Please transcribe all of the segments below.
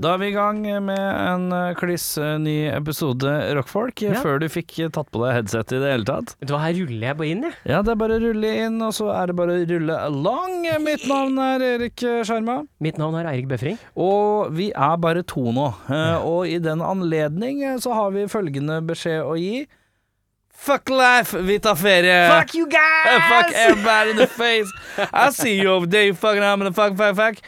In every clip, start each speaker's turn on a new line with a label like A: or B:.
A: Da er vi i gang med en eh, kliss eh, ny episode Rockfolk, eh,
B: Ja.
A: før du fikk eh, tatt på deg headsetet i det hele tatt.
B: Vet du hva, her ruller jeg bare inn, jeg.
A: Ja, det er bare å rulle inn, og så er det bare å rulle along. Eh, Mitt navn er Erik Skjerma.
B: Mitt navn er Eirik Befring.
A: Og vi er bare to nå. Eh, Og i den anledning eh, så har vi følgende beskjed å gi. Fuck life, vi tar ferie!
B: Fuck you guys!
A: Eh, fuck everybody in the face! I see you over there, you fucking I'm gonna fuck, fuck, fuck.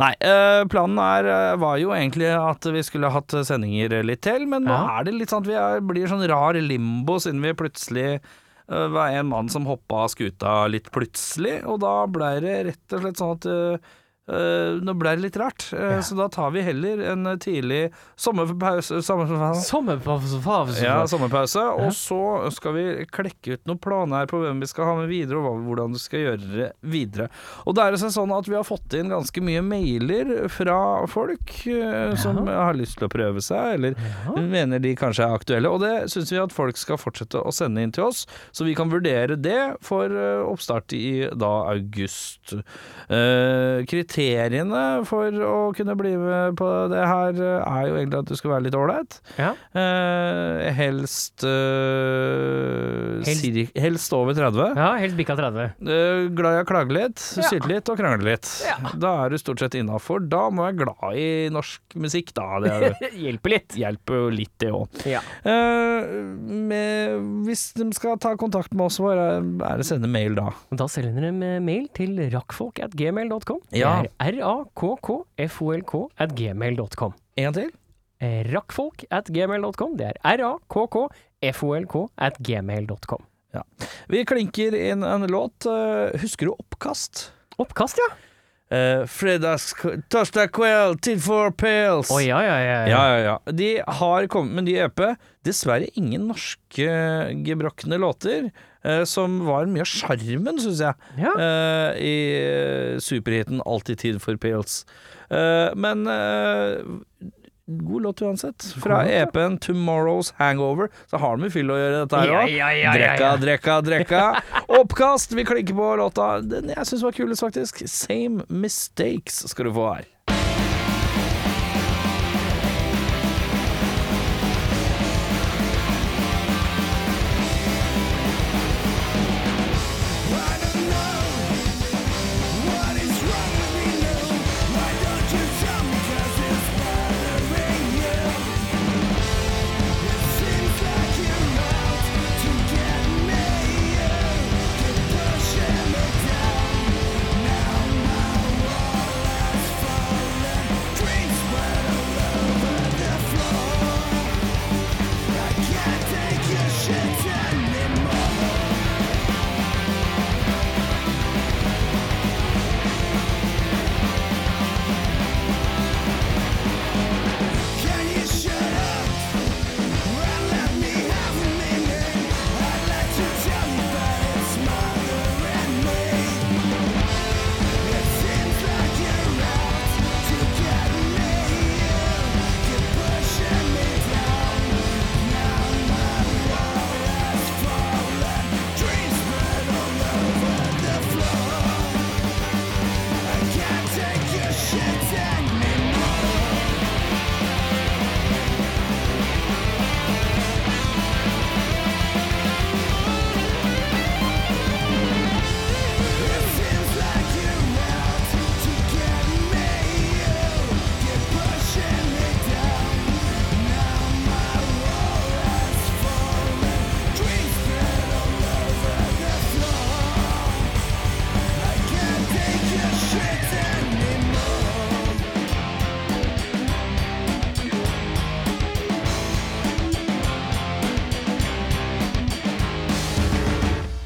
A: Nei, eh, planen er, eh, var jo egentlig at vi skulle hatt sendinger litt til, men nå
B: Ja.
A: er det litt sånn at vi er, blir sånn rar limbo siden vi plutselig eh, var en mann som hoppa av skuta litt plutselig, og da blei det rett og slett sånn at eh, eh, nå blei det litt rart, Eh, så da tar vi heller en eh, tidlig sommerpause sommer,
B: Sommerpause.
A: ja, sommerpause. Og så skal vi klekke ut noen planer på hvem vi skal ha med videre, og hva- hvordan vi skal gjøre det videre. Og det er altså sånn at vi har fått inn ganske mye mailer fra folk eh, som har lyst til å prøve seg, eller mener de kanskje er aktuelle. Og det syns vi at folk skal fortsette å sende inn til oss, så vi kan vurdere det for eh, oppstart i da august. Eh, Kriteriene for å kunne bli med på det her eh, er jo egentlig at du skal være litt ålreit.
B: Ja.
A: Eh, helst, eh,
B: Helst-
A: cir- helst over 30.
B: ja, helt bikka 30.
A: Eh, glad i å klage litt,
B: Ja.
A: syte litt og krangle litt. Da er du stort sett innafor. Da må jeg glad i norsk musikk, da. Det er-
B: Hjelper litt.
A: hjelper jo litt, det òg.
B: Ja.
A: hvis de skal ta kontakt med oss, hvor er er det å sende mail da?
B: Og Da sender de eh, mail til rakkfolk at gmail.com.
A: Ja.
B: Det er r-a-k-k-f-o-l-k at gmail.com.
A: En til?
B: Eh, Rakkfolk at gmail.com. Det er r-a-k-k-f-o-l-k at gmail.com.
A: Vi klinker inn en låt. Eh, husker du Oppkast?
B: Oppkast, ja! Eh,
A: Uh, fredags, torsdag kveld, tid for pils.
B: Å ja, ja, ja. ja.
A: Ja, ja, ja. De har kommet med en ny EP. Dessverre ingen norske gebrokne låter, eh, som var mye av sjarmen, syns jeg,
B: Ja.
A: eh, i eh, superhiten 'Alltid tid for pils'. Eh, men eh, god låt uansett. Fra
B: God låt, ja.
A: EP-en 'Tomorrow's Hangover' så har de med fyll å gjøre, dette her
B: Ja,
A: òg.
B: ja, ja, ja,
A: Drekka,
B: ja.
A: drekka, drekka. Oppkast! Vi klikker på låta. Den jeg syns var kulest, faktisk. 'Same Mistakes' skal du få her.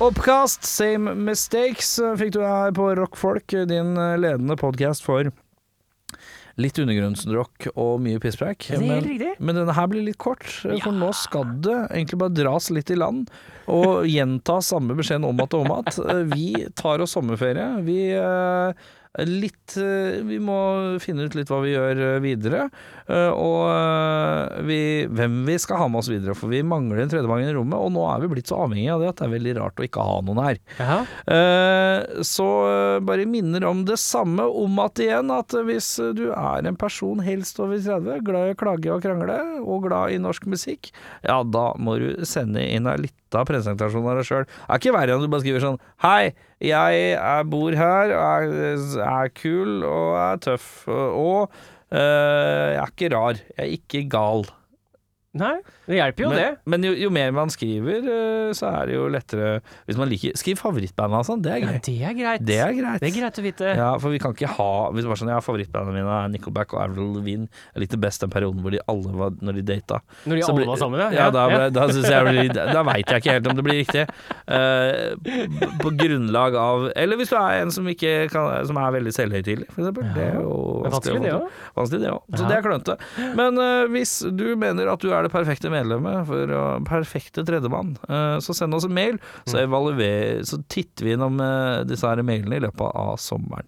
A: Oppkast, same mistakes, eh, fikk du her på Rockfolk, eh, din ledende podkast for litt undergrunnsrock og mye pisspreik.
B: Det er helt riktig.
A: men denne her blir litt kort, eh, for nå skal det egentlig bare dras litt i land og gjenta samme beskjeden om at og om at. Vi tar oss sommerferie. Vi eh, litt eh, Vi må finne ut litt hva vi gjør eh, videre. eh, Og eh, vi, hvem vi skal ha med oss videre, for vi mangler en tredjemann i rommet. Og nå er vi blitt så avhengig av det at det er veldig rart å ikke ha noen her.
B: Jaha.
A: Eh, Så eh, bare minner om det samme, om at igjen at eh, hvis eh, du er en person helst over 30, glad i å klage og krangle, og glad i norsk musikk, ja da må du sende inn ei lita presentasjon av deg sjøl. Det er ikke verre enn du bare skriver sånn Hei, jeg er, bor her, er, er kul og er tøff, og eh, jeg er ikke rar. Jeg er ikke gal.
B: Nei, det hjelper jo
A: men,
B: det.
A: Men jo, jo mer man skriver, eh, så er det jo lettere Hvis man liker Skriv favorittbandet og sånn, det er
B: Ja,
A: gøy.
B: det er greit.
A: Det er greit.
B: Det er greit å vite.
A: Ja, for vi kan ikke ha Hvis det var sånn, ja, favorittbandene mine er Nickelback og Avril Lavigne. Jeg likte best den perioden hvor de alle var Når de data.
B: Når de
A: Så
B: alle
A: blir-
B: var sammen,
A: Ja, da, ble- da synes jeg blir- Da veit jeg ikke helt om det blir riktig. Eh, på grunnlag av Eller hvis du er en som ikke kan Som er veldig selvhøytidelig, for eksempel. Det er jo
B: Det er
A: å
B: vanskelig,
A: få
B: det
A: til.
B: òg.
A: Vanskelig det òg. Så
B: Ja.
A: det er klønete. Men eh, hvis du mener at du er det perfekte medlemmet, for å- perfekte tredjemann, eh, så send oss en mail, så,
B: Mm.
A: evaluer, så titter vi innom eh, disse her mailene i løpet av sommeren.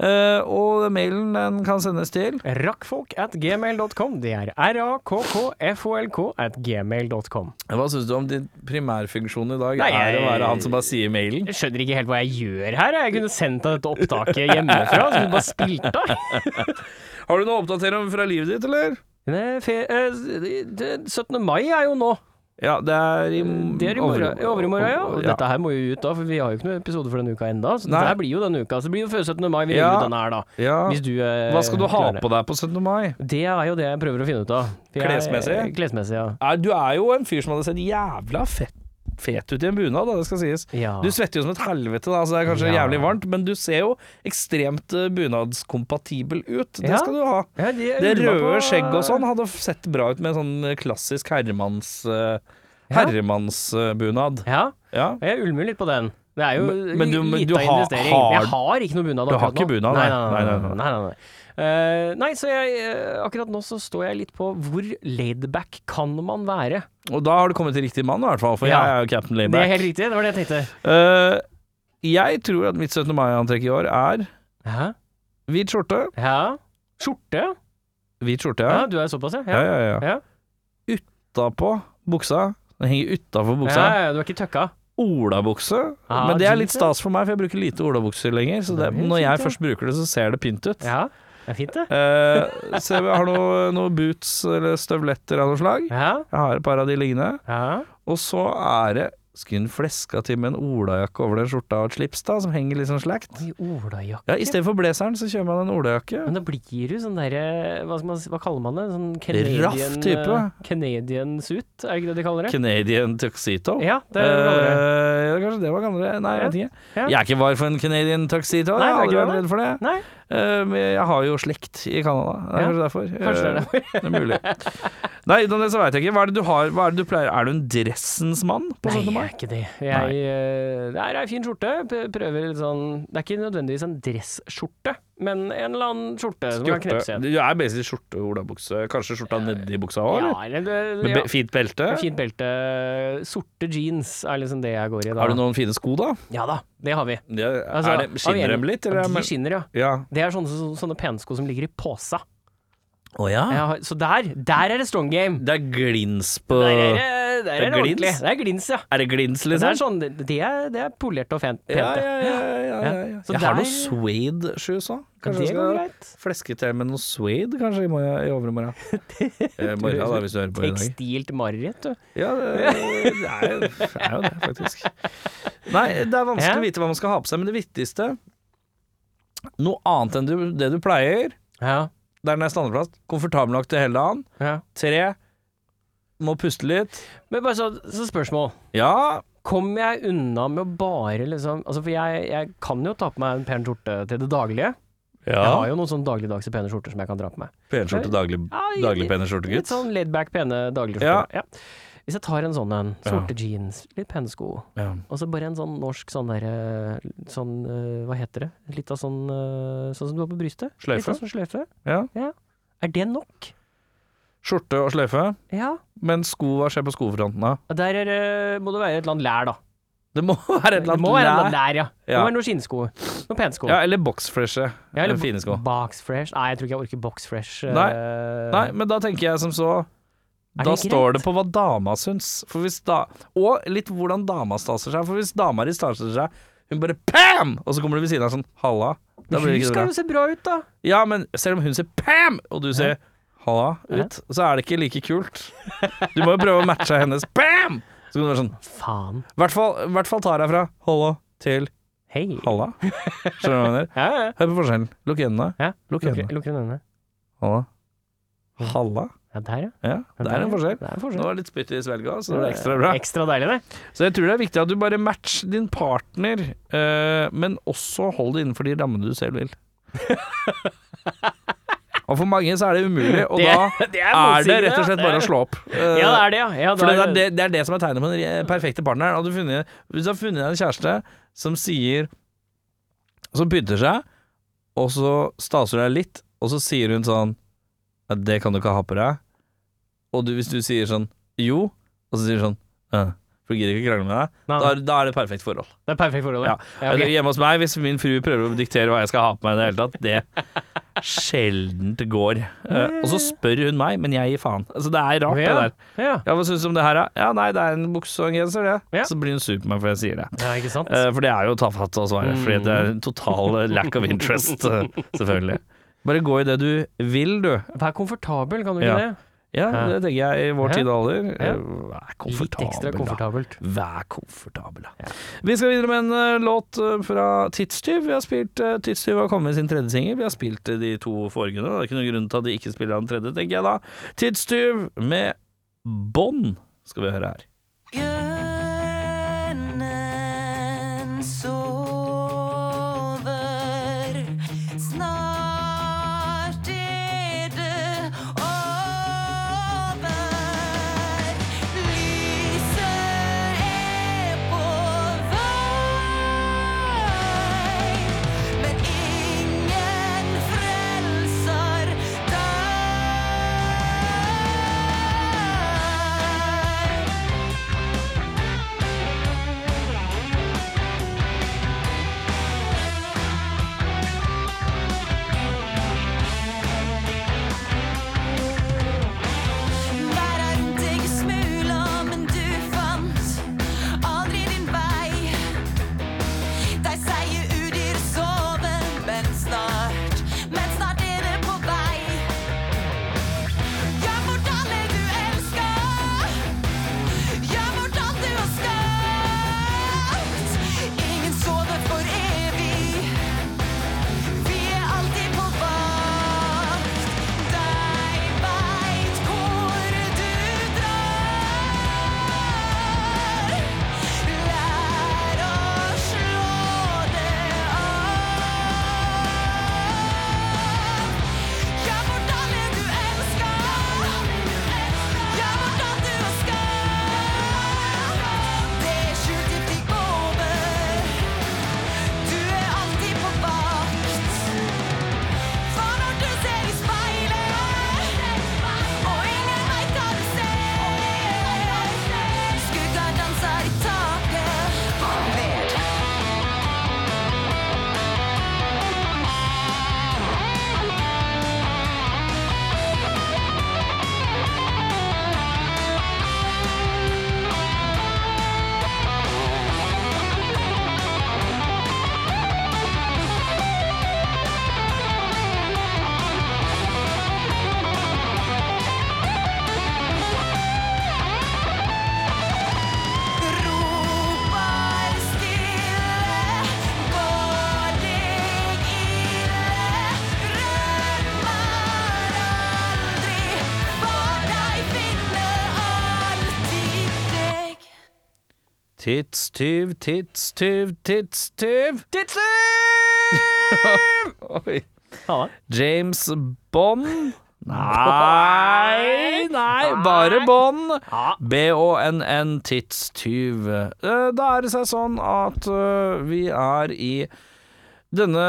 A: Eh, og mailen den kan sendes til
B: Rakkfolk at gmail.com. Det er r-a-k-k-f-o-l-k at gmail.com.
A: Hva syns du om din primærfunksjon i dag?
B: Nei,
A: er å
B: jeg-
A: være han som bare sier mailen?
B: Jeg skjønner ikke helt hva jeg gjør her. Jeg kunne sendt deg dette opptaket hjemmefra, så du bare spilte av.
A: Har du noe å oppdatere om fra livet ditt, eller?
B: Nei, fe- eh, det- det- 17. mai er jo nå.
A: Ja, Eh, det er i
B: Det er i morgen.
A: over-
B: i Overmorgen, ja. Og
A: ja.
B: dette her må jo ut da, for vi har jo ikke noen episode for denne uka enda Så
A: Nei.
B: dette her blir jo denne uka. Så det blir jo før 17. mai vi legger
A: Ja.
B: ut denne her, da.
A: Ja.
B: Hvis du eh,
A: Hva skal du ha
B: klarer det.
A: på deg på 17. mai?
B: Det er jo det jeg prøver å finne ut av. For jeg-
A: Klesmessig?
B: Klesmessig, ja.
A: Nei, Du er jo en fyr som hadde sett jævla fett, fet ut i en bunad, da, det skal sies.
B: ja.
A: Du svetter jo som et helvete, da, så det er kanskje
B: Ja.
A: jævlig varmt, men du ser jo ekstremt eh, bunadskompatibel ut. Det
B: Ja.
A: skal du ha.
B: Ja, de
A: Det
B: lurer meg
A: røde
B: på-
A: skjegget og sånn hadde sett bra ut med en sånn klassisk herremanns... eh,
B: Ja.
A: Herremannsbunad.
B: Ja,
A: Ja.
B: og jeg ulmer litt på den. Det er jo
A: Men- men du- men
B: litt
A: du
B: av
A: har-
B: investering.
A: har-
B: jeg har ikke noe bunad
A: Du har
B: akkurat
A: ikke
B: nå.
A: bunad,
B: nei.
A: nei. Nei,
B: Nei, nei,
A: nei,
B: nei. nei, nei, nei. Eh, nei, så jeg, eh, akkurat nå så står jeg litt på hvor laidback kan man være?
A: Og da har du kommet til riktig mann, i hvert fall, for
B: Ja.
A: jeg er jo Captain
B: Det er
A: Layback.
B: helt riktig, det var det jeg tenkte.
A: Eh, jeg tror at mitt 17. mai-antrekk i år er
B: Hæ?
A: hvit skjorte.
B: Ja. Skjorte?
A: Hvit skjorte,
B: Ja,
A: ja.
B: du er såpass, ja.
A: Ja,
B: Ja,
A: ja, ja. Utapå buksa. Den henger utafor
B: ja,
A: buksa.
B: ja, ja du er ikke tøkka?
A: olabukse.
B: Ah,
A: men det er litt
B: jeans, ja.
A: stas for meg, for jeg bruker lite olabukser lenger. Så
B: Det
A: det,
B: er helt
A: når jeg
B: fint, ja.
A: først bruker det, så ser det pynt ut.
B: Ja, det er fint det.
A: Eh, så jeg har noen noe boots eller støvletter av noe slag.
B: Ja,
A: Jeg har et par av de liggende.
B: ja.
A: Og så er det skun fleska til med en olajakke over den skjorta og et slips, da, som henger litt sånn slakt.
B: Oi, olajakke.
A: Ja, Istedenfor blazeren så kjører man en olajakke.
B: Men da blir du sånn derre hva, skal man si- hva kaller man det? Sånn Canadian,
A: Raff type.
B: eh, Canadian suit, er det ikke det de kaller det?
A: Canadian tuxedo.
B: Ja, det er det andre.
A: Eh, ja, kanskje det var gamlere. Nei, jeg vet ikke.
B: Ja.
A: Jeg er ikke var for en Canadian tuxedo.
B: Nei,
A: jeg har aldri
B: det er ikke
A: vært
B: det.
A: redd for det.
B: Nei,
A: Eh, men jeg har jo slekt i Canada. Det er
B: Ja,
A: kanskje derfor.
B: kanskje det er
A: Eh, det er mulig. Nei, utenom det så vet jeg ikke. Hva er det du har? Hva er det du pleier? Er du en dressens mann på sånn 17.
B: Nei, jeg
A: mai?
B: er ikke det.
A: Nei.
B: Jeg, eh, det er ei fin skjorte. P- Prøver litt sånn Det er ikke nødvendigvis en dresskjorte, men en eller annen skjorte som kan knepse
A: Skjorte.
B: igjen.
A: Du er basically skjorte og olabukse. Kanskje skjorta nedi buksa òg,
B: Ja,
A: eller?
B: eller det,
A: Med
B: ja.
A: be- fint belte?
B: Fint belte. Sorte jeans er liksom det jeg går i da.
A: Har du noen fine sko, da?
B: Ja da, det har vi.
A: Det, er
B: Altså,
A: det, skinner
B: av en-
A: dem litt,
B: Ja,
A: eller?
B: de skinner, ja.
A: ja.
B: Det er sånne, så- sånne pensko som ligger i posa.
A: Å ja?
B: Jeg har, så der, der er det strong game.
A: Det er glins på
B: Der er det, der
A: det
B: er det
A: glins?
B: ordentlig. Det er glins, ja.
A: Er det glins,
B: Det er,
A: liksom?
B: sånn, det, er, det er polert og fent. pent,
A: Ja, ja, ja. ja, ja, ja.
B: Så
A: Jeg har
B: der-
A: noen suede shoes òg. Kanskje
B: Det
A: jeg
B: går
A: skal
B: greit.
A: fleske til med noe suede, kanskje, i, morgen, i overmorgen. Eh, morgen, da, hvis du hører på i dag.
B: Tekstilt mareritt, du.
A: Ja, det, det, er, jo- det er jo det, faktisk. Nei, det er vanskelig
B: Ja.
A: å vite hva man skal ha på seg, men det viktigste Noe annet enn du, det du pleier.
B: Ja.
A: Der den er standardplass. Komfortabel nok til hele dagen.
B: ja.
A: Tre. Må puste litt.
B: Men bare så, så spørsmål.
A: Ja,
B: Kommer jeg unna med å bare liksom Altså, for jeg, jeg kan jo ta på meg en pen skjorte til det daglige. Jeg har jo noen sånn dagligdagse pene skjorter som jeg kan dra på meg.
A: Penskjorte, daglig,
B: Ja, jeg-
A: daglig peneskjorte,
B: Litt
A: gutt.
B: sånn laidback, pene dagligskjorter. Ja. Hvis jeg tar en sånn en, sorte jeans, litt pene sko,
A: Ja.
B: og så bare en sånn norsk sånn derre Sånn, eh, hva heter det? Litt av sånn eh, Sånn som du har på brystet?
A: Sløyfe.
B: Litt av sånn sløyfe.
A: Ja.
B: Er det nok?
A: Skjorte og sløyfe.
B: Ja.
A: Men sko, hva skjer på skofronten da?
B: Der er, det- må det være et eller annet lær, da.
A: Det må være et eller
B: Det
A: annet
B: må være
A: lær.
B: noe der, ja. Det
A: Ja.
B: må være noen skinnsko. Noen pensko.
A: Ja, eller boxfreshe.
B: Ja, eller
A: fine sko.
B: Box Fresh. Nei, jeg tror ikke jeg orker Box Fresh. eh,
A: Nei. Nei, men da tenker jeg som så
B: Er det
A: Da
B: greit?
A: står det på hva dama syns. For hvis da, og litt hvordan dama staser seg. For hvis dama di staser seg, hun bare pam! Og så kommer du ved siden av sånn halla. Da blir
B: Hun
A: det ikke det
B: skal
A: bra.
B: jo se bra ut, da.
A: Ja, men selv om hun sier pam, og du sier halla
B: Ja.
A: ut, så er det ikke like kult. Du må jo prøve å matche hennes pam! Så kan du være sånn
B: Faen.
A: I hvert fall, i hvert fall tar jeg fra halla til
B: Hei.
A: halla. Skjønner du hva jeg mener?
B: Ja, ja.
A: Hør på forskjellen. Lukk øynene.
B: ja.
A: Lukk
B: Lukker
A: øynene.
B: lukker hun øynene?
A: Halla. Halla?
B: Ja, der, ja.
A: Ja,
B: Ja,
A: det
B: der,
A: er en forskjell.
B: Det er en
A: Nå
B: forskjell.
A: var det litt spytt i svelga, så det ble ekstra bra.
B: Ekstra deilig, det.
A: Så jeg tror det er viktig at du bare matcher din partner, eh, men også hold det innenfor de rammene du selv vil. og for mange så er det umulig, og da
B: det
A: er det rett og slett bare å slå opp. Eh,
B: Ja, det er det, ja. ja da
A: for det er
B: er
A: det, det er det som er tegnet på den re- perfekte partneren. Hadde du funnet, hvis du har funnet deg en kjæreste som sier Som pynter seg, og så staser du deg litt, og så sier hun sånn «Ja, Det kan du ikke ha på deg. Og du, hvis du sier sånn Jo, og så sier du sånn «Øh, For du gidder ikke krangle med deg.
B: Nei,
A: Da, er- da er det et perfekt forhold.
B: Det er perfekt forhold, ja. ja ok.
A: Eller Hjemme hos meg, hvis min fru prøver å diktere hva jeg skal ha på meg i det hele tatt, det sjeldent går. Eh, og så spør hun meg, men jeg gir faen. Altså, det er rart, det der.
B: Ja.
A: Ja, hva syns du om det her, da? Ja, nei, det er en bukse og en genser, det.
B: Ja.
A: Så blir hun sur på meg for jeg sier det.
B: ja, ikke sant?
A: Eh, for det er jo tafatt å svare, fordi det er en total eh, lack of interest, eh, selvfølgelig. Bare gå i det du vil, du.
B: Vær komfortabel, kan du
A: Ja.
B: ikke det?
A: Ja,
B: Ja.
A: det tenker jeg i vår
B: Ja.
A: tid og alder. Eh,
B: Ja.
A: Vær
B: Litt ekstra
A: komfortabel, da.
B: komfortabelt.
A: Vær komfortabel, da. Vi skal videre med en eh, låt eh, fra Tidstyv. Vi har spilt eh, Tidstyv har kommet med sin tredje singel. Vi har spilt eh, de to forrige nå. Det er ikke noen grunn til at de ikke spiller den tredje, tenker jeg da. Tidstyv med Bånd skal vi høre her.
C: Bjørnen sover. Snart er det over. Lyset er på vei, men ingen frelser deg. Hver dag jeg smuler, men du fant aldri din vei. De sier udyr sover, men snart, men snart er det på vei. Gjør bort alle du elsker, gjør bort alt du har skapt. Ingen sover for evig, vi er alltid på vakt. Dei veit hvor du drar. Lær å slå det av. Gjør bort alle du elsker. Gjør bort alt du har skapt. Det skjulte fikk over. Du er alltid på vakt. For når du ser i speilet, og ingen veit hva du ser Skugger danser i taket, ned. Ropar stille, går deg ille. Rømmer aldri, for deg finner alltid deg.
A: Tidstyv, tidstyv, tidstyv Oi.
B: Ha det.
A: James Bond Nei, nei, bare Bond
B: Ja.
A: B-O-N-N, tidstyv Eh, Da er det seg sånn at eh, vi er i denne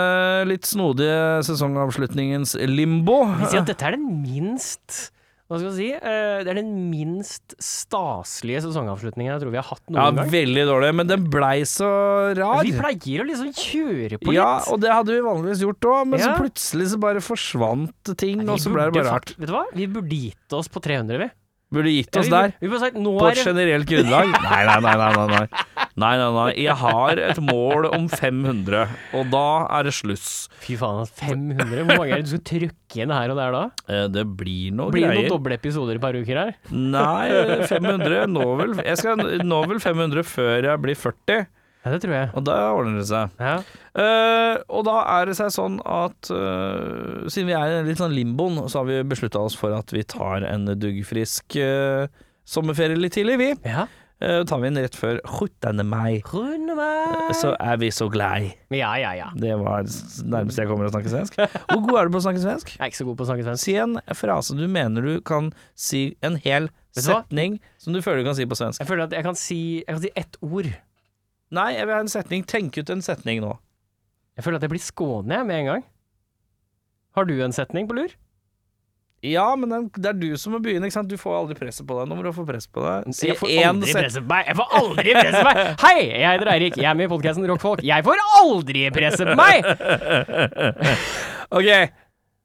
A: litt snodige sesongavslutningens limbo
B: Vi sier at dette er den minst Hva skal jeg si? Eh, Det er den minst staselige sesongavslutningen jeg tror vi har hatt
A: Ja,
B: noen gang.
A: veldig dårlig, men den blei så rar.
B: Vi pleier å liksom kjøre på litt.
A: Ja, og det hadde vi vanligvis gjort òg, men så
B: Ja.
A: plutselig så bare forsvant ting,
B: Vi
A: og så ble det
B: burde
A: bare rart.
B: fakt- Vet du hva? Vi burde gitt oss på 300, vi.
A: Burde gitt oss
B: vi,
A: der.
B: Vi burde sagt nå
A: På
B: er
A: et
B: det
A: generelt grunnlag? Nei, nei, nei, nei, nei, nei. Nei, nei, nei. Jeg har et mål om 500, og da er det sluss.
B: Fy faen, ass, 500? Hvor mange er det du skal trykke inn her og der da?
A: Eh, Det blir noe
B: Blir det noen
A: greier.
B: doble episoder i et par uker her?
A: Nei, 500 nå vel, jeg skal nå vel 500 før jeg blir 40,
B: Ja, det tror jeg.
A: og da ordner det seg.
B: Ja.
A: Eh, og da er det seg sånn at eh, siden vi er i en litt sånn limboen, så har vi beslutta oss for at vi tar en duggfrisk eh, sommerferie litt tidlig, vi.
B: ja.
A: Eh, tar vi en rett før 17. mai.
B: Runde meg.
A: Så er vi så glad.
B: Ja, ja, ja.
A: Det var s- nærmest jeg kommer å snakke svensk. Hvor god er du på å snakke svensk?
B: Jeg er ikke så god på å snakke svensk.
A: Si en frase du mener du kan si en hel
B: Vet du hva?
A: setning som du føler du kan si på svensk.
B: Jeg føler at jeg kan si, jeg kan si ett ord.
A: Nei, jeg vil ha en setning. Tenk ut en setning nå.
B: Jeg føler at jeg blir skånet jeg, med en gang. Har du en setning på lur?
A: Ja, men den, det er du som må begynne, ikke sant? Du får aldri presset på deg. Nå må du få press på deg. Si
B: jeg får
A: én
B: aldri
A: setning.
B: presse på meg! Jeg får aldri presse på meg! Hei, jeg heter Eirik, jeg er med i podkasten Rockfolk. Jeg får aldri presse på meg!
A: Ok,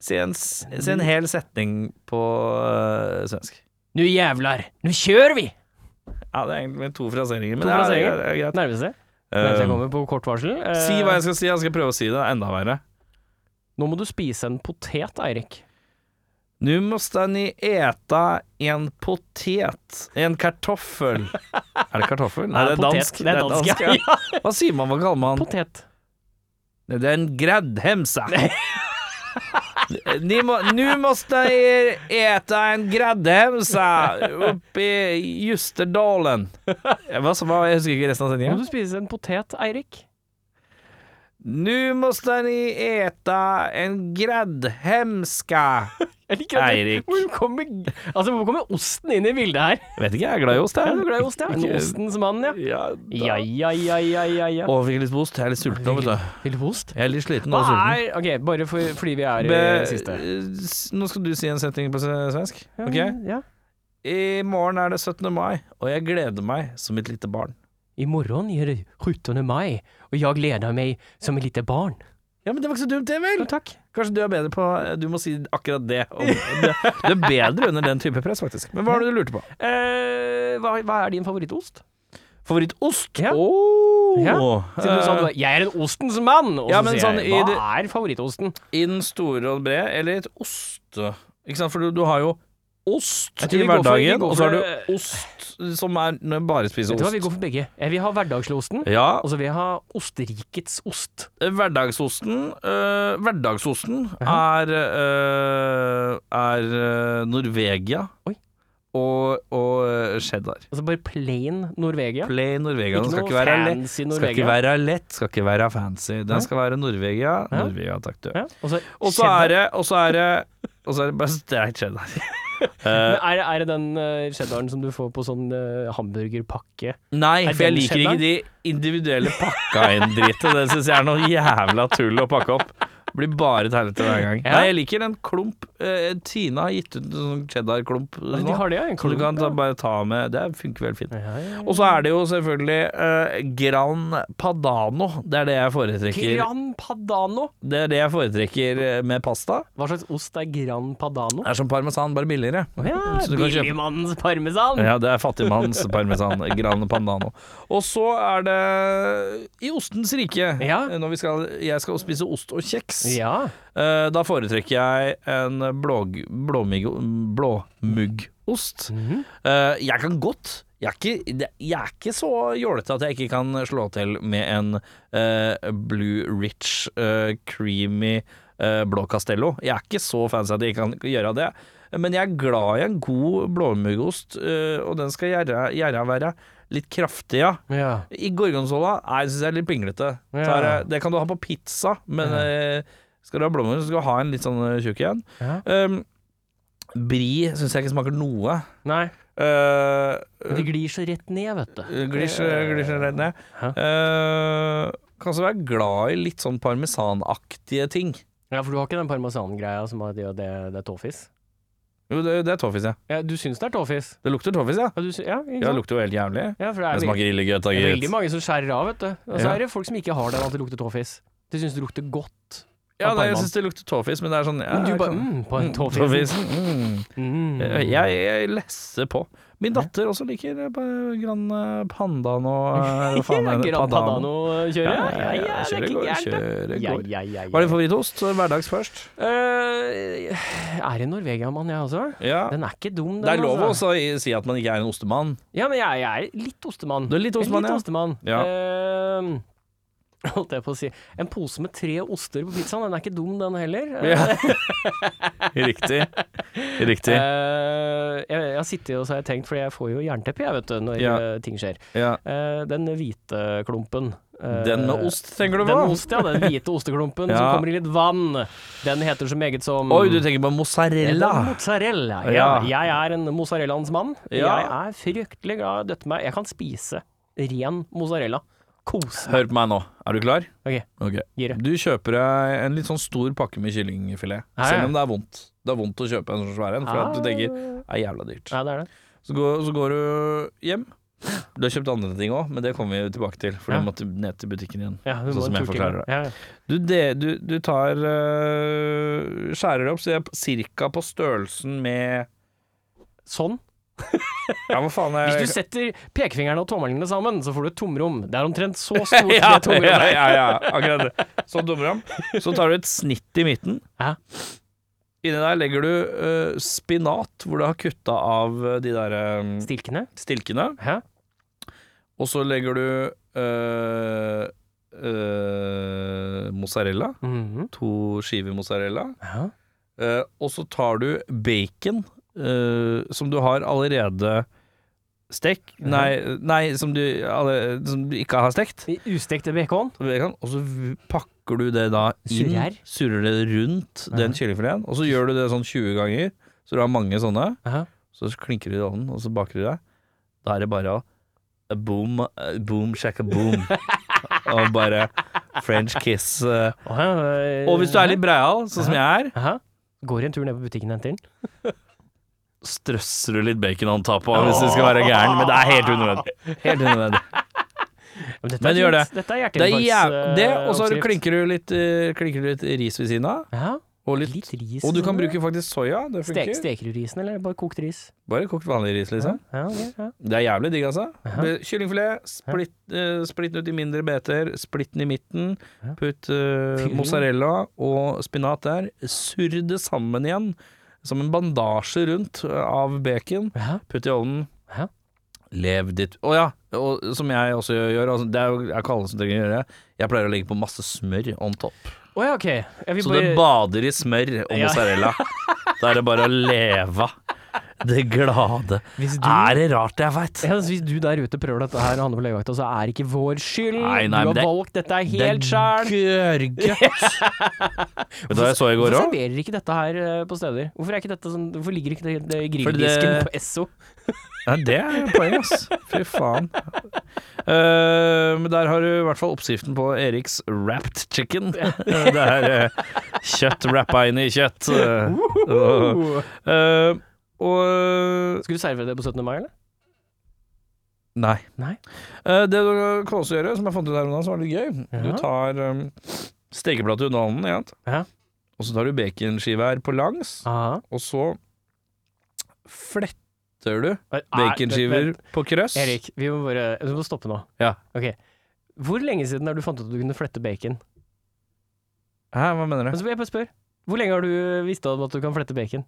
A: si en, s- si
B: Mm.
A: en hel setning på øh, svensk.
B: Nu jævlar, nu kjører vi!
A: Ja, det er egentlig med to fraseringer, men
B: To
A: det er-
B: fraseringer.
A: det er greit.
B: Nærmer det seg. Mens jeg
A: Eh,
B: kommer på kort varsel. Eh,
A: si hva jeg skal si, jeg skal prøve å si det. Enda verre.
B: Nå må du spise en potet, Eirik.
A: Nu måste ni äta en potet, en kartoffel. Er det kartoffel? Nei, det er
B: potet.
A: dansk.
B: Det er dansk,
A: dansk, ja.
B: ja.
A: Hva sier man, hva kaller man?
B: Potet.
A: Det er en gräddhemsa. Ni må, nu måste er äta en gräddhemsa uppe i Justerdalen. Hva, sa- hva, jeg husker ikke resten av
B: Nå
A: sendingen.
B: må du spise en potet, Eirik.
A: Nu måste ni äta en gräddhemska.
B: Jeg liker at du-
A: Eirik.
B: Hvor kommer, altså, hvor kommer osten inn i bildet her?
A: Vet ikke, jeg er glad i ost, jeg.
B: Er du glad i ost, ja? En
A: Ikke-
B: ostens mann, ja.
A: Ja, da-
B: Ja, ja, ja, ja, ja. ja.
A: Å, fikk litt på ost. Jeg er litt sulten nå, vet du.
B: Vil du ost?
A: Jeg er litt sliten og sulten.
B: Nei, ok, bare for, fordi vi er i
A: Be-
B: siste.
A: s- Nå skal du si en setning på s- svensk.
B: Ja,
A: Ok?
B: ja.
A: I morgen er det 17. mai, og jeg gleder meg som et lite barn.
B: I morgen er det 17. mai, og jeg gleder meg som et lite barn.
A: Ja, men det var ikke så dumt, det
B: Jo,
A: vel?
B: takk.
A: Kanskje du er bedre på Du må si akkurat det. om- det- Du er bedre under den type press, faktisk. Men hva var det du lurte på?
B: Eh, hva, hva er din favorittost?
A: Favorittost?
B: Ja.
A: Åh.
B: Ja. Siden du sa
A: Eh,
B: du var 'jeg er en ostens mann', og
A: Ja,
B: så
A: men
B: sier
A: sånn
B: jeg
A: i
B: 'hva
A: det-
B: er favorittosten'?
A: I den store og brede, eller et oste. Ikke sant, for du, du har jo ost i
B: Jeg tror vi går for- vi
A: hverdagen,
B: går
A: og så har
B: for-
A: du ost som er når jeg bare spiser
B: Vet du hva, vi
A: ost.
B: går for begge. Jeg vil ha hverdagsosten,
A: Ja,
B: og så vil jeg ha Osterrikets ost.
A: Hverdagsosten øh, Hverdagsosten er øh, er øh, Norvegia
B: Oi.
A: og, og øh, cheddar.
B: Altså bare plain Norvegia.
A: Play Norvegia. Den skal
B: Ikke noe
A: ikke, være lett.
B: fancy
A: skal
B: Norvegia.
A: ikke være lett, skal ikke være fancy.
B: Nei.
A: Den skal være Norvegia.
B: Ja.
A: Norvegia, takk du.
B: Ja, og så
A: Og så er det Og så er det Og så er det bare streit cheddar.
B: Men er, det- er det den eh, cheddaren som du får på sånn eh, hamburgerpakke?
A: Nei,
B: Er
A: for jeg
B: den
A: liker
B: cheddar?
A: ikke de individuelle pakka inn-dritet. Det syns jeg er noe jævla tull å pakke opp. Blir bare tegnete hver gang.
B: Ja.
A: Nei, jeg liker en klump. Eh, Tina har gitt ut en sånn cheddar-klump
B: Ja,
A: nå.
B: De har det, ja. En
A: Så du
B: klump,
A: kan ta,
B: ja.
A: bare ta med Det funker vel fint.
B: Ja, ja, ja.
A: Og så er det jo selvfølgelig eh, Gran Padano. Det er det jeg foretrekker.
B: Gran Padano.
A: Det er det jeg foretrekker eh, med pasta.
B: Hva slags ost er Gran Padano?
A: Det er som parmesan, bare billigere.
B: Ja,
A: Så du kan kjøpe-
B: Billigmannens parmesan.
A: Ja, det er fattigmanns parmesan. Gran Pandano. Og så er det i ostens rike.
B: Ja.
A: Når vi skal, jeg skal spise ost og kjeks.
B: Ja.
A: Eh, Da foretrekker jeg en blåg, blåmigg, blåmuggost.
B: Mhm.
A: Eh, Jeg kan godt jeg er, ikke, det- jeg er ikke så jålete at jeg ikke kan slå til med en eh, Blue Rich eh, Creamy eh, Blå Castello. Jeg er ikke så fancy at jeg ikke kan gjøre det. Men jeg er glad i en god blåmuggost, eh, og den skal gjerra gjerra være litt kraftig, ja.
B: ja.
A: I gorgonzola Nei, det synes jeg er litt pinglete
B: Ja.
A: Tar jeg- Det kan du ha på pizza Men eh, skal du ha blommer Så skal du ha en litt sånn eh, tjukk igjen
B: Ja.
A: um, Bri synes jeg ikke smaker noe
B: Nei,
A: uh,
B: men det glir så rett ned, vet du. Eh,
A: Glisje Glisje redd ned
B: Hæ?
A: uh, Kan også være glad i litt sånn parmesanaktige ting
B: Ja, for du har ikke den parmesan-greia som har det, det, det er tåfis?
A: Jo, det, det er tåfis, ja.
B: Ja, du syns det er tåfis?
A: Det lukter tåfis, ja.
B: Ja, du sy ja, ikke
A: Ja, det
B: sant?
A: lukter jo helt jævlig.
B: ja, for det
A: Det
B: er, veldig,
A: smaker ille grøt, da,
B: det er veldig
A: gitt.
B: mange som skjærer av, vet du. Og så
A: Ja.
B: er det folk som ikke har den at det lukter tåfis. De syns det lukter godt.
A: Ja,
B: av
A: nei, jeg
B: parmesan.
A: syns det lukter tåfis, men det er sånn ja,
B: Men du
A: jeg
B: bare
A: kan-
B: mm, på en
A: Mm,
B: tåfis.
A: Mm.
B: Mm.
A: Jeg, jeg lesser på. Min datter også liker eh, Gran Pandan og eh, hva faen er det?
B: Gran
A: Padano.
B: Padano-kjøret?
A: Ja, ja, ja,
B: det er
A: kjører
B: ikke
A: går,
B: gærent, det.
A: kjører
B: Ja,
A: går.
B: ja, ja, ja.
A: Hva er din favorittost? Hverdags først?
B: Eh, er det Norvegia-mann, jeg også?
A: Ja.
B: Den er ikke dum, den.
A: Det er lov
B: altså.
A: også å i- si at man ikke er en ostemann.
B: Ja, men jeg, jeg er litt ostemann.
A: Du er litt ostemann,
B: litt
A: ja.
B: ostemann.
A: Ja.
B: Ehm, holdt jeg på å si. En pose med tre oster på pizzaen, den er ikke dum, den heller.
A: Ja. Riktig. Riktig.
B: Eh, jeg, jeg har sittet og så har jeg tenkt, for jeg får jo jernteppe jeg, vet du, når
A: Ja.
B: eh, ting skjer.
A: Ja.
B: Eh, den hvite klumpen. eh,
A: Den med ost, tenker du
B: Den med
A: på?
B: ost, ja. Den hvite osteklumpen som
A: Ja.
B: kommer i litt vann. Den heter så meget som
A: Oi, du tenker på
B: Eller
A: mozzarella.
B: Mozzarella.
A: Ja.
B: Ja. Jeg er en mozzarellaens mann.
A: Ja.
B: Jeg er fryktelig glad i å døtte meg. Jeg kan spise ren mozzarella. Kose meg.
A: Hør på meg nå. Er du klar?
B: Ok.
A: Ok.
B: Gire.
A: Du kjøper deg en litt sånn stor pakke med kyllingfilet.
B: Ja, ja.
A: Selv om det er vondt. Det er vondt å kjøpe en sånn svær en, for at du tenker
B: Ah.
A: det er
B: Ja,
A: jævla dyrt.
B: det er det.
A: Så går, så går du hjem. Du har kjøpt andre ting òg, men det kommer vi tilbake til. For
B: Ja.
A: du måtte ned til butikken igjen.
B: Ja, du
A: Sånn
B: må
A: som jeg
B: en tur til.
A: forklarer det.
B: Ja, ja.
A: Du, det, du, du tar øh, Skjærer opp så jeg er ca. på størrelsen med
B: Sånn.
A: Ja, hva faen er
B: Hvis du setter pekefingeren og tommelene sammen, så får du et tomrom. Det er omtrent så stort
A: ja,
B: det tomrommet
A: ja,
B: er.
A: ja, ja, akkurat det. Så dummer han. Så tar du et snitt i midten.
B: Ja.
A: Inni der legger du øh, spinat, hvor du har kutta av øh, de der øh,
B: Stilkene.
A: stilkene.
B: Hæ?
A: Og så legger du øh, øh, mozzarella.
B: Mhm.
A: to skiver mozzarella.
B: Ja.
A: Eh, og så tar du bacon, eh, som du har allerede stekt Nei, eh, nei som, du, alle, som du ikke har stekt.
B: I Ustekte bacon.
A: Bacon, og så v- pakker du det da inn,
B: Surrer.
A: surrer det rundt den kyllingfileten. Og så gjør du det sånn 20 ganger, så du har mange sånne.
B: Ja.
A: Så klinker du i ovnen, og så baker du det. Da er det bare å eh, boom, eh, boom, shaka boom. og bare French kiss. eh.
B: Å, ja,
A: Og hvis du er litt breial, sånn som jeg er,
B: Hæ? Går en tur ned på butikken og henter den.
A: strøsser du litt bacon on top av hvis du skal være gæren, men det er helt unødvendig. Helt unødvendig.
B: Men, dette er
A: Men gjør det.
B: fint. Dette er
A: Det er jæv...
B: hjerteinfarkts,
A: Det,
B: eh,
A: og så har du-
B: oppskrift.
A: klinker du litt, eh, klinker du litt ris ved siden av,
B: Ja.
A: og litt
B: Litt ris.
A: og du
B: i
A: kan
B: den,
A: bruke faktisk soya. Det
B: Stek,
A: funker.
B: steker du risen, eller bare kokt ris?
A: Bare kokt vanlig ris, liksom.
B: Ja, ok, ja.
A: Det er jævlig digg, altså. Be- Kyllingfilet. Splitt, eh, splitt den ut i mindre beter. Splitt den i midten. Putt eh,
B: Fyll den.
A: mozzarella og spinat der. Surr det sammen igjen, som en bandasje rundt eh, av bacon.
B: Ja.
A: Putt i ovnen.
B: Ja.
A: Lev ditt Å ja, og, som jeg også gjør. Altså, det er jo er ikke alle som trenger å gjøre det. Jeg pleier å legge på masse smør on top.
B: Å ja, ok. Jeg vil
A: Så
B: bare
A: du bader i smør og
B: Ja.
A: mozzarella. da er det bare å leve det glade.
B: Hvis du-
A: Er det rart, jeg veit?
B: ja, altså, hvis du der ute prøver dette her, Hanne på legevakta, så er det ikke vår skyld.
A: Nei, nei,
B: du
A: men
B: har
A: det-
B: valgt dette er helt sjæl.
A: gørrgodt. Vet du hva jeg så i går òg?
B: Hvorfor serverer ikke dette her eh, på steder? Hvorfor, er ikke dette sånn, hvorfor ligger ikke det, det i
A: Fordi
B: grilldisken
A: det-
B: på Esso?
A: Nei, det er poeng, ass. Fy faen. Eh, men der har du i hvert fall oppskriften på Eriks wrapped chicken. det er eh, kjøtt wrappa inn i kjøtt. Uh, og
B: Skulle du servere det på 17. mai, eller?
A: Nei.
B: Nei.
A: Eh, det du kan også gjøre, som jeg fant ut her om dagen, som var litt gøy Du
B: Ja.
A: tar um, stekeplate under ovnen, ikke sant?
B: Ja.
A: og så tar du baconskive her på langs,
B: Aha.
A: og så fletter du
B: Er- er-
A: baconskiver
B: vent,
A: på krøss.
B: Erik, vi må bare vi må stoppe nå.
A: Ja.
B: Ok. Hvor lenge siden har du fant ut at du kunne flette bacon?
A: Hæ, hva mener du?
B: Men så vil jeg bare spørre, hvor lenge har du visst om at du kan flette bacon?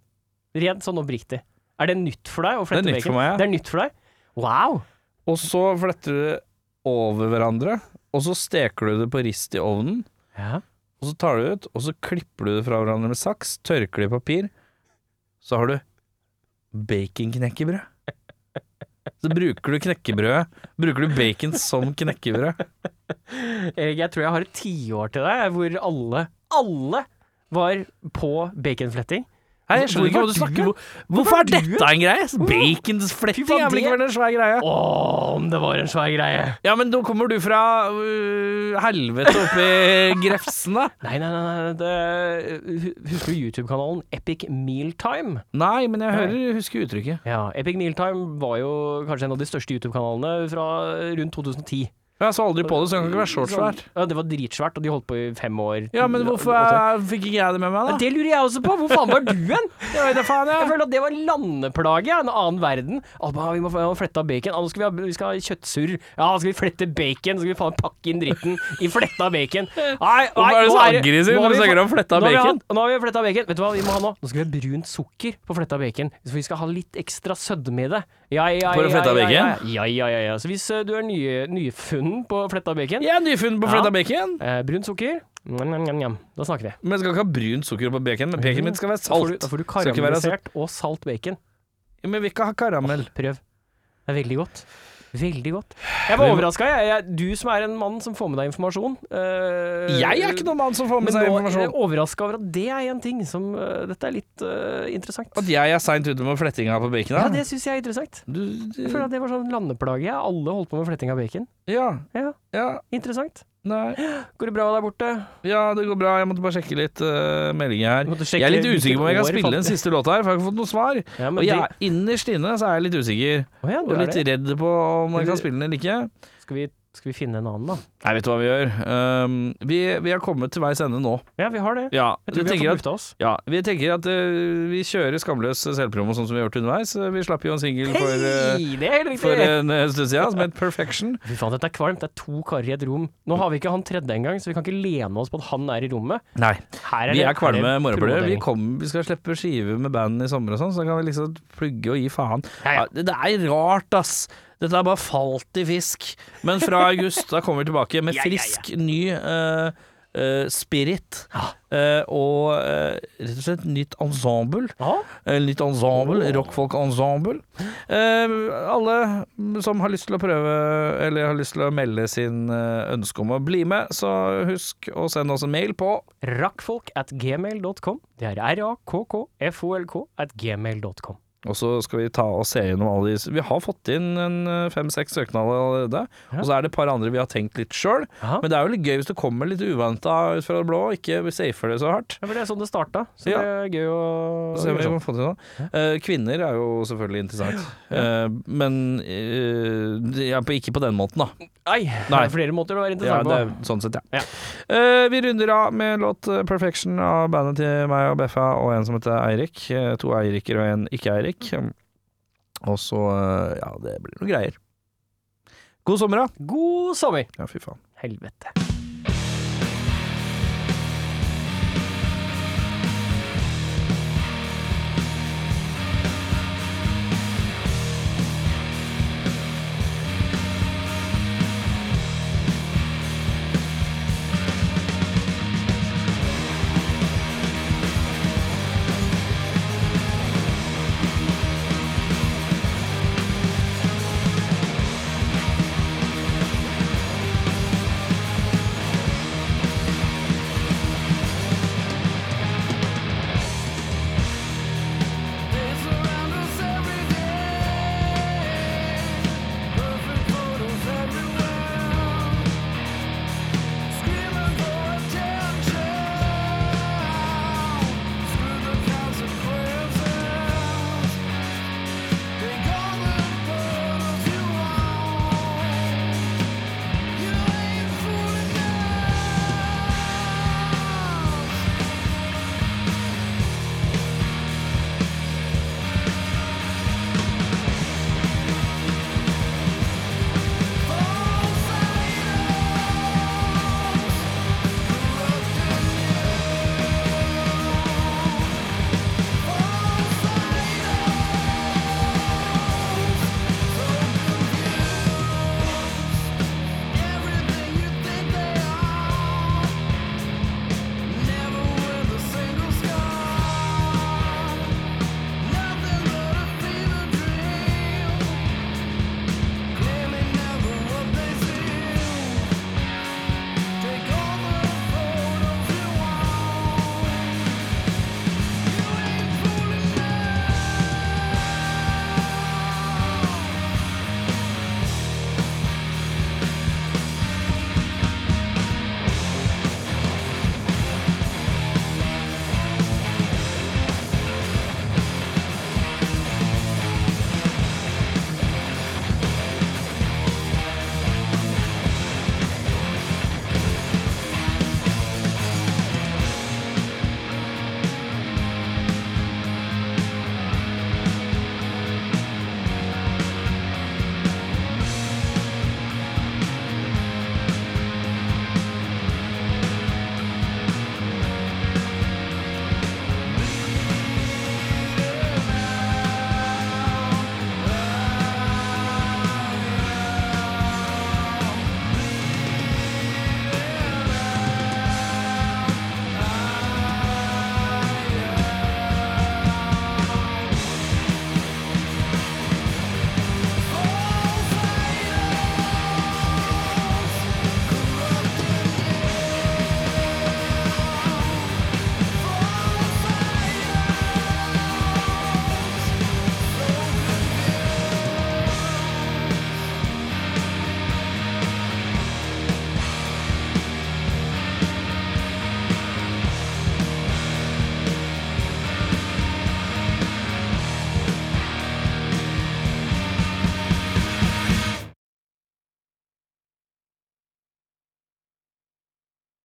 B: Rent sånn oppriktig. Er det nytt for deg å flette
A: Det er
B: bacon?
A: nytt for meg, ja.
B: Det er nytt for deg? Wow!
A: Og så fletter du det over hverandre, og så steker du det på rist i ovnen.
B: Ja.
A: Og så tar du det ut, og så klipper du det fra hverandre med saks, tørker det i papir. Så har du baconknekkebrød. Så bruker du knekkebrødet Bruker du bacon som knekkebrød.
B: Erik, jeg tror jeg har et tiår til deg hvor alle, alle var på baconfletting.
A: Nei, jeg skjønner ikke hva du
B: Hvorfor
A: snakker
B: du-
A: om. Hvorfor er
B: hvorfor du-
A: dette en greie? Baconsfletting
B: Fy faen,
A: er vel ikke
B: det-
A: vel en svær greie?
B: Å, om det var en svær greie!
A: Ja, men nå kommer du fra øh, helvete oppi Grefsen, da.
B: Nei, nei, nei, nei det, hu- Husker du YouTube-kanalen Epic Mealtime?
A: Nei, men jeg hører, husker uttrykket.
B: Ja, Epic Mealtime var jo kanskje en av de største YouTube-kanalene fra rundt 2010.
A: Jeg så aldri på det, så det kan ikke være shortsvær.
B: Ja, det var dritsvært, og de holdt på i fem år.
A: Ja, men hvorfor
B: Åtte-
A: eh, fikk ikke jeg det med meg, da?
B: Det lurer jeg også på! Hvor faen var du hen?
A: Jeg vet da faen,
B: Jeg
A: jeg.
B: føler at det var landeplage, ja, en annen verden. Alba, vi må få- vi må flette av bacon. Ja, nå skal vi ha, vi skal ha kjøttsurr. Ja, skal vi flette bacon? Så skal vi faen pakke inn dritten i fletta bacon. Nei,
A: Hvorfor
B: nei,
A: er du
B: nå
A: så
B: det-
A: aggressiv når
B: nå har
A: du
B: vi
A: snakker om
B: fa-
A: fletta
B: nå har vi
A: bacon?
B: hatt- Nå har vi fletta bacon. Vet du hva vi må ha nå? Nå skal vi ha brunt sukker på fletta bacon. Så vi skal ha litt ekstra sødme i det. Ja, ja,
A: På det fletta
B: ja, ja,
A: bacon?
B: Ja, ja, ja, ja. Så hvis eh, du er nye, nyfunnen på fletta bacon,
A: Jeg er nyfunnet på
B: Ja.
A: fletta bacon.
B: eh, brunt sukker, Njam, njam, njam, njam. mm. da snakker vi.
A: Men jeg skal ikke ha brunt sukker på bacon. Men bacon mitt skal være
B: Da får du,
A: salt.
B: da får du
A: Skal ikke være søtt.
B: karamellisert og salt bacon.
A: Men vi vil ikke ha karamell.
B: Prøv. Det er veldig godt. Veldig godt. Jeg var overraska, jeg. jeg. Du som er en mann som får med deg informasjon. eh,
A: Jeg er ikke noen mann som får med
B: Men
A: seg
B: nå er jeg
A: informasjon.
B: overraska over at det er en ting som eh, Dette er litt eh, interessant.
A: At jeg er seint ute med flettinga på
B: Ja,
A: baconet?
B: det syns jeg er interessant.
A: Du,
B: Jeg
A: du,
B: føler at det var sånn landeplage. ja. Alle holdt på med fletting av bacon.
A: ja.
B: Ja,
A: Ja.
B: interessant.
A: Nei.
B: Går det bra der borte?
A: Ja, det går bra. Jeg måtte bare sjekke litt eh, meldinger her.
B: Du måtte sjekke
A: Jeg er litt
B: hvilket
A: usikker på om jeg kan
B: år
A: spille
B: fant-
A: den siste låta her, for jeg har ikke fått noe svar.
B: Ja,
A: Og
B: men
A: jeg, innerst inne så er jeg litt usikker,
B: det, Å ja,
A: og
B: du er
A: litt
B: det.
A: redd på om jeg kan spille den eller ikke.
B: Skal, vi, skal vi finne en annen, da?
A: Nei, vet du hva vi gjør? Um, vi, vi har kommet til veis ende nå.
B: Ja, vi har det.
A: Ja,
B: Jeg
A: vi
B: tror vi
A: tenker
B: har
A: at
B: fått lufta oss.
A: ja, vi tenker at eh, vi kjører skamløs selvpromo sånn som vi har gjort underveis. Vi slapp jo en singel for, eh,
B: Hei, det er helt
A: for
B: riktig!
A: en eh, stund siden som het Perfection.
B: Fy faen, dette er kvalmt. Det er to karer i et rom. Nå har vi ikke han tredje engang, så vi kan ikke lene oss på at han er i rommet.
A: Nei,
B: Her
A: vi
B: det-
A: er kvalme
B: det
A: morapulere. Vi,
B: promodeling.
A: kommer- vi skal slippe skive med band i sommer og sånn, så da kan vi liksom plugge og gi faen.
B: Ja, ja.
A: Ja, det, det er rart, ass. Dette er bare falt i fisk. Men fra august da kommer vi tilbake med
B: Ja, ja, ja.
A: frisk, ny eh, eh, spirit.
B: Ah.
A: Eh, og eh, rett og slett nytt ensemble.
B: Ja,
A: Eh, nytt ensemble, rockfolk-ensemble. Eh, alle som har lyst til å prøve, eller har lyst til å melde sin eh, ønske om å bli med, så husk å sende oss en mail på
B: Rakkfolk at gmail.com. Det er r-a-k-k-f-o-l-k at gmail.com.
A: Og så skal vi ta og se gjennom alle de Vi har fått inn en eh, fem-seks søknader allerede.
B: Ja.
A: Og så er det et par andre vi har tenkt litt sjøl.
B: Jaha.
A: Men det er jo litt gøy hvis det kommer litt uventa ut fra det blå, og ikke safer det så hardt.
B: Ja, for det er sånn det starta, så
A: Ja.
B: det er gøy å
A: Så ser vi om
B: gjøre sånn.
A: vi får til noe. Eh, Kvinner er jo selvfølgelig interessant, Eh, men eh, de er på- ikke på den måten, da.
B: Nei, det
A: Nei.
B: er flere måter å
A: Ja,
B: være interessant
A: det er
B: på.
A: sånn sett, ja.
B: Ja.
A: Eh, vi runder av med låt eh, 'Perfection' av bandet til meg og Beffa, og en som heter Eirik. Eh, To Eiriker og en ikke-Eirik. Og så eh, Ja, det blir noen greier. God sommer, da.
B: God sommer!
A: Ja, fy faen.
B: Helvete.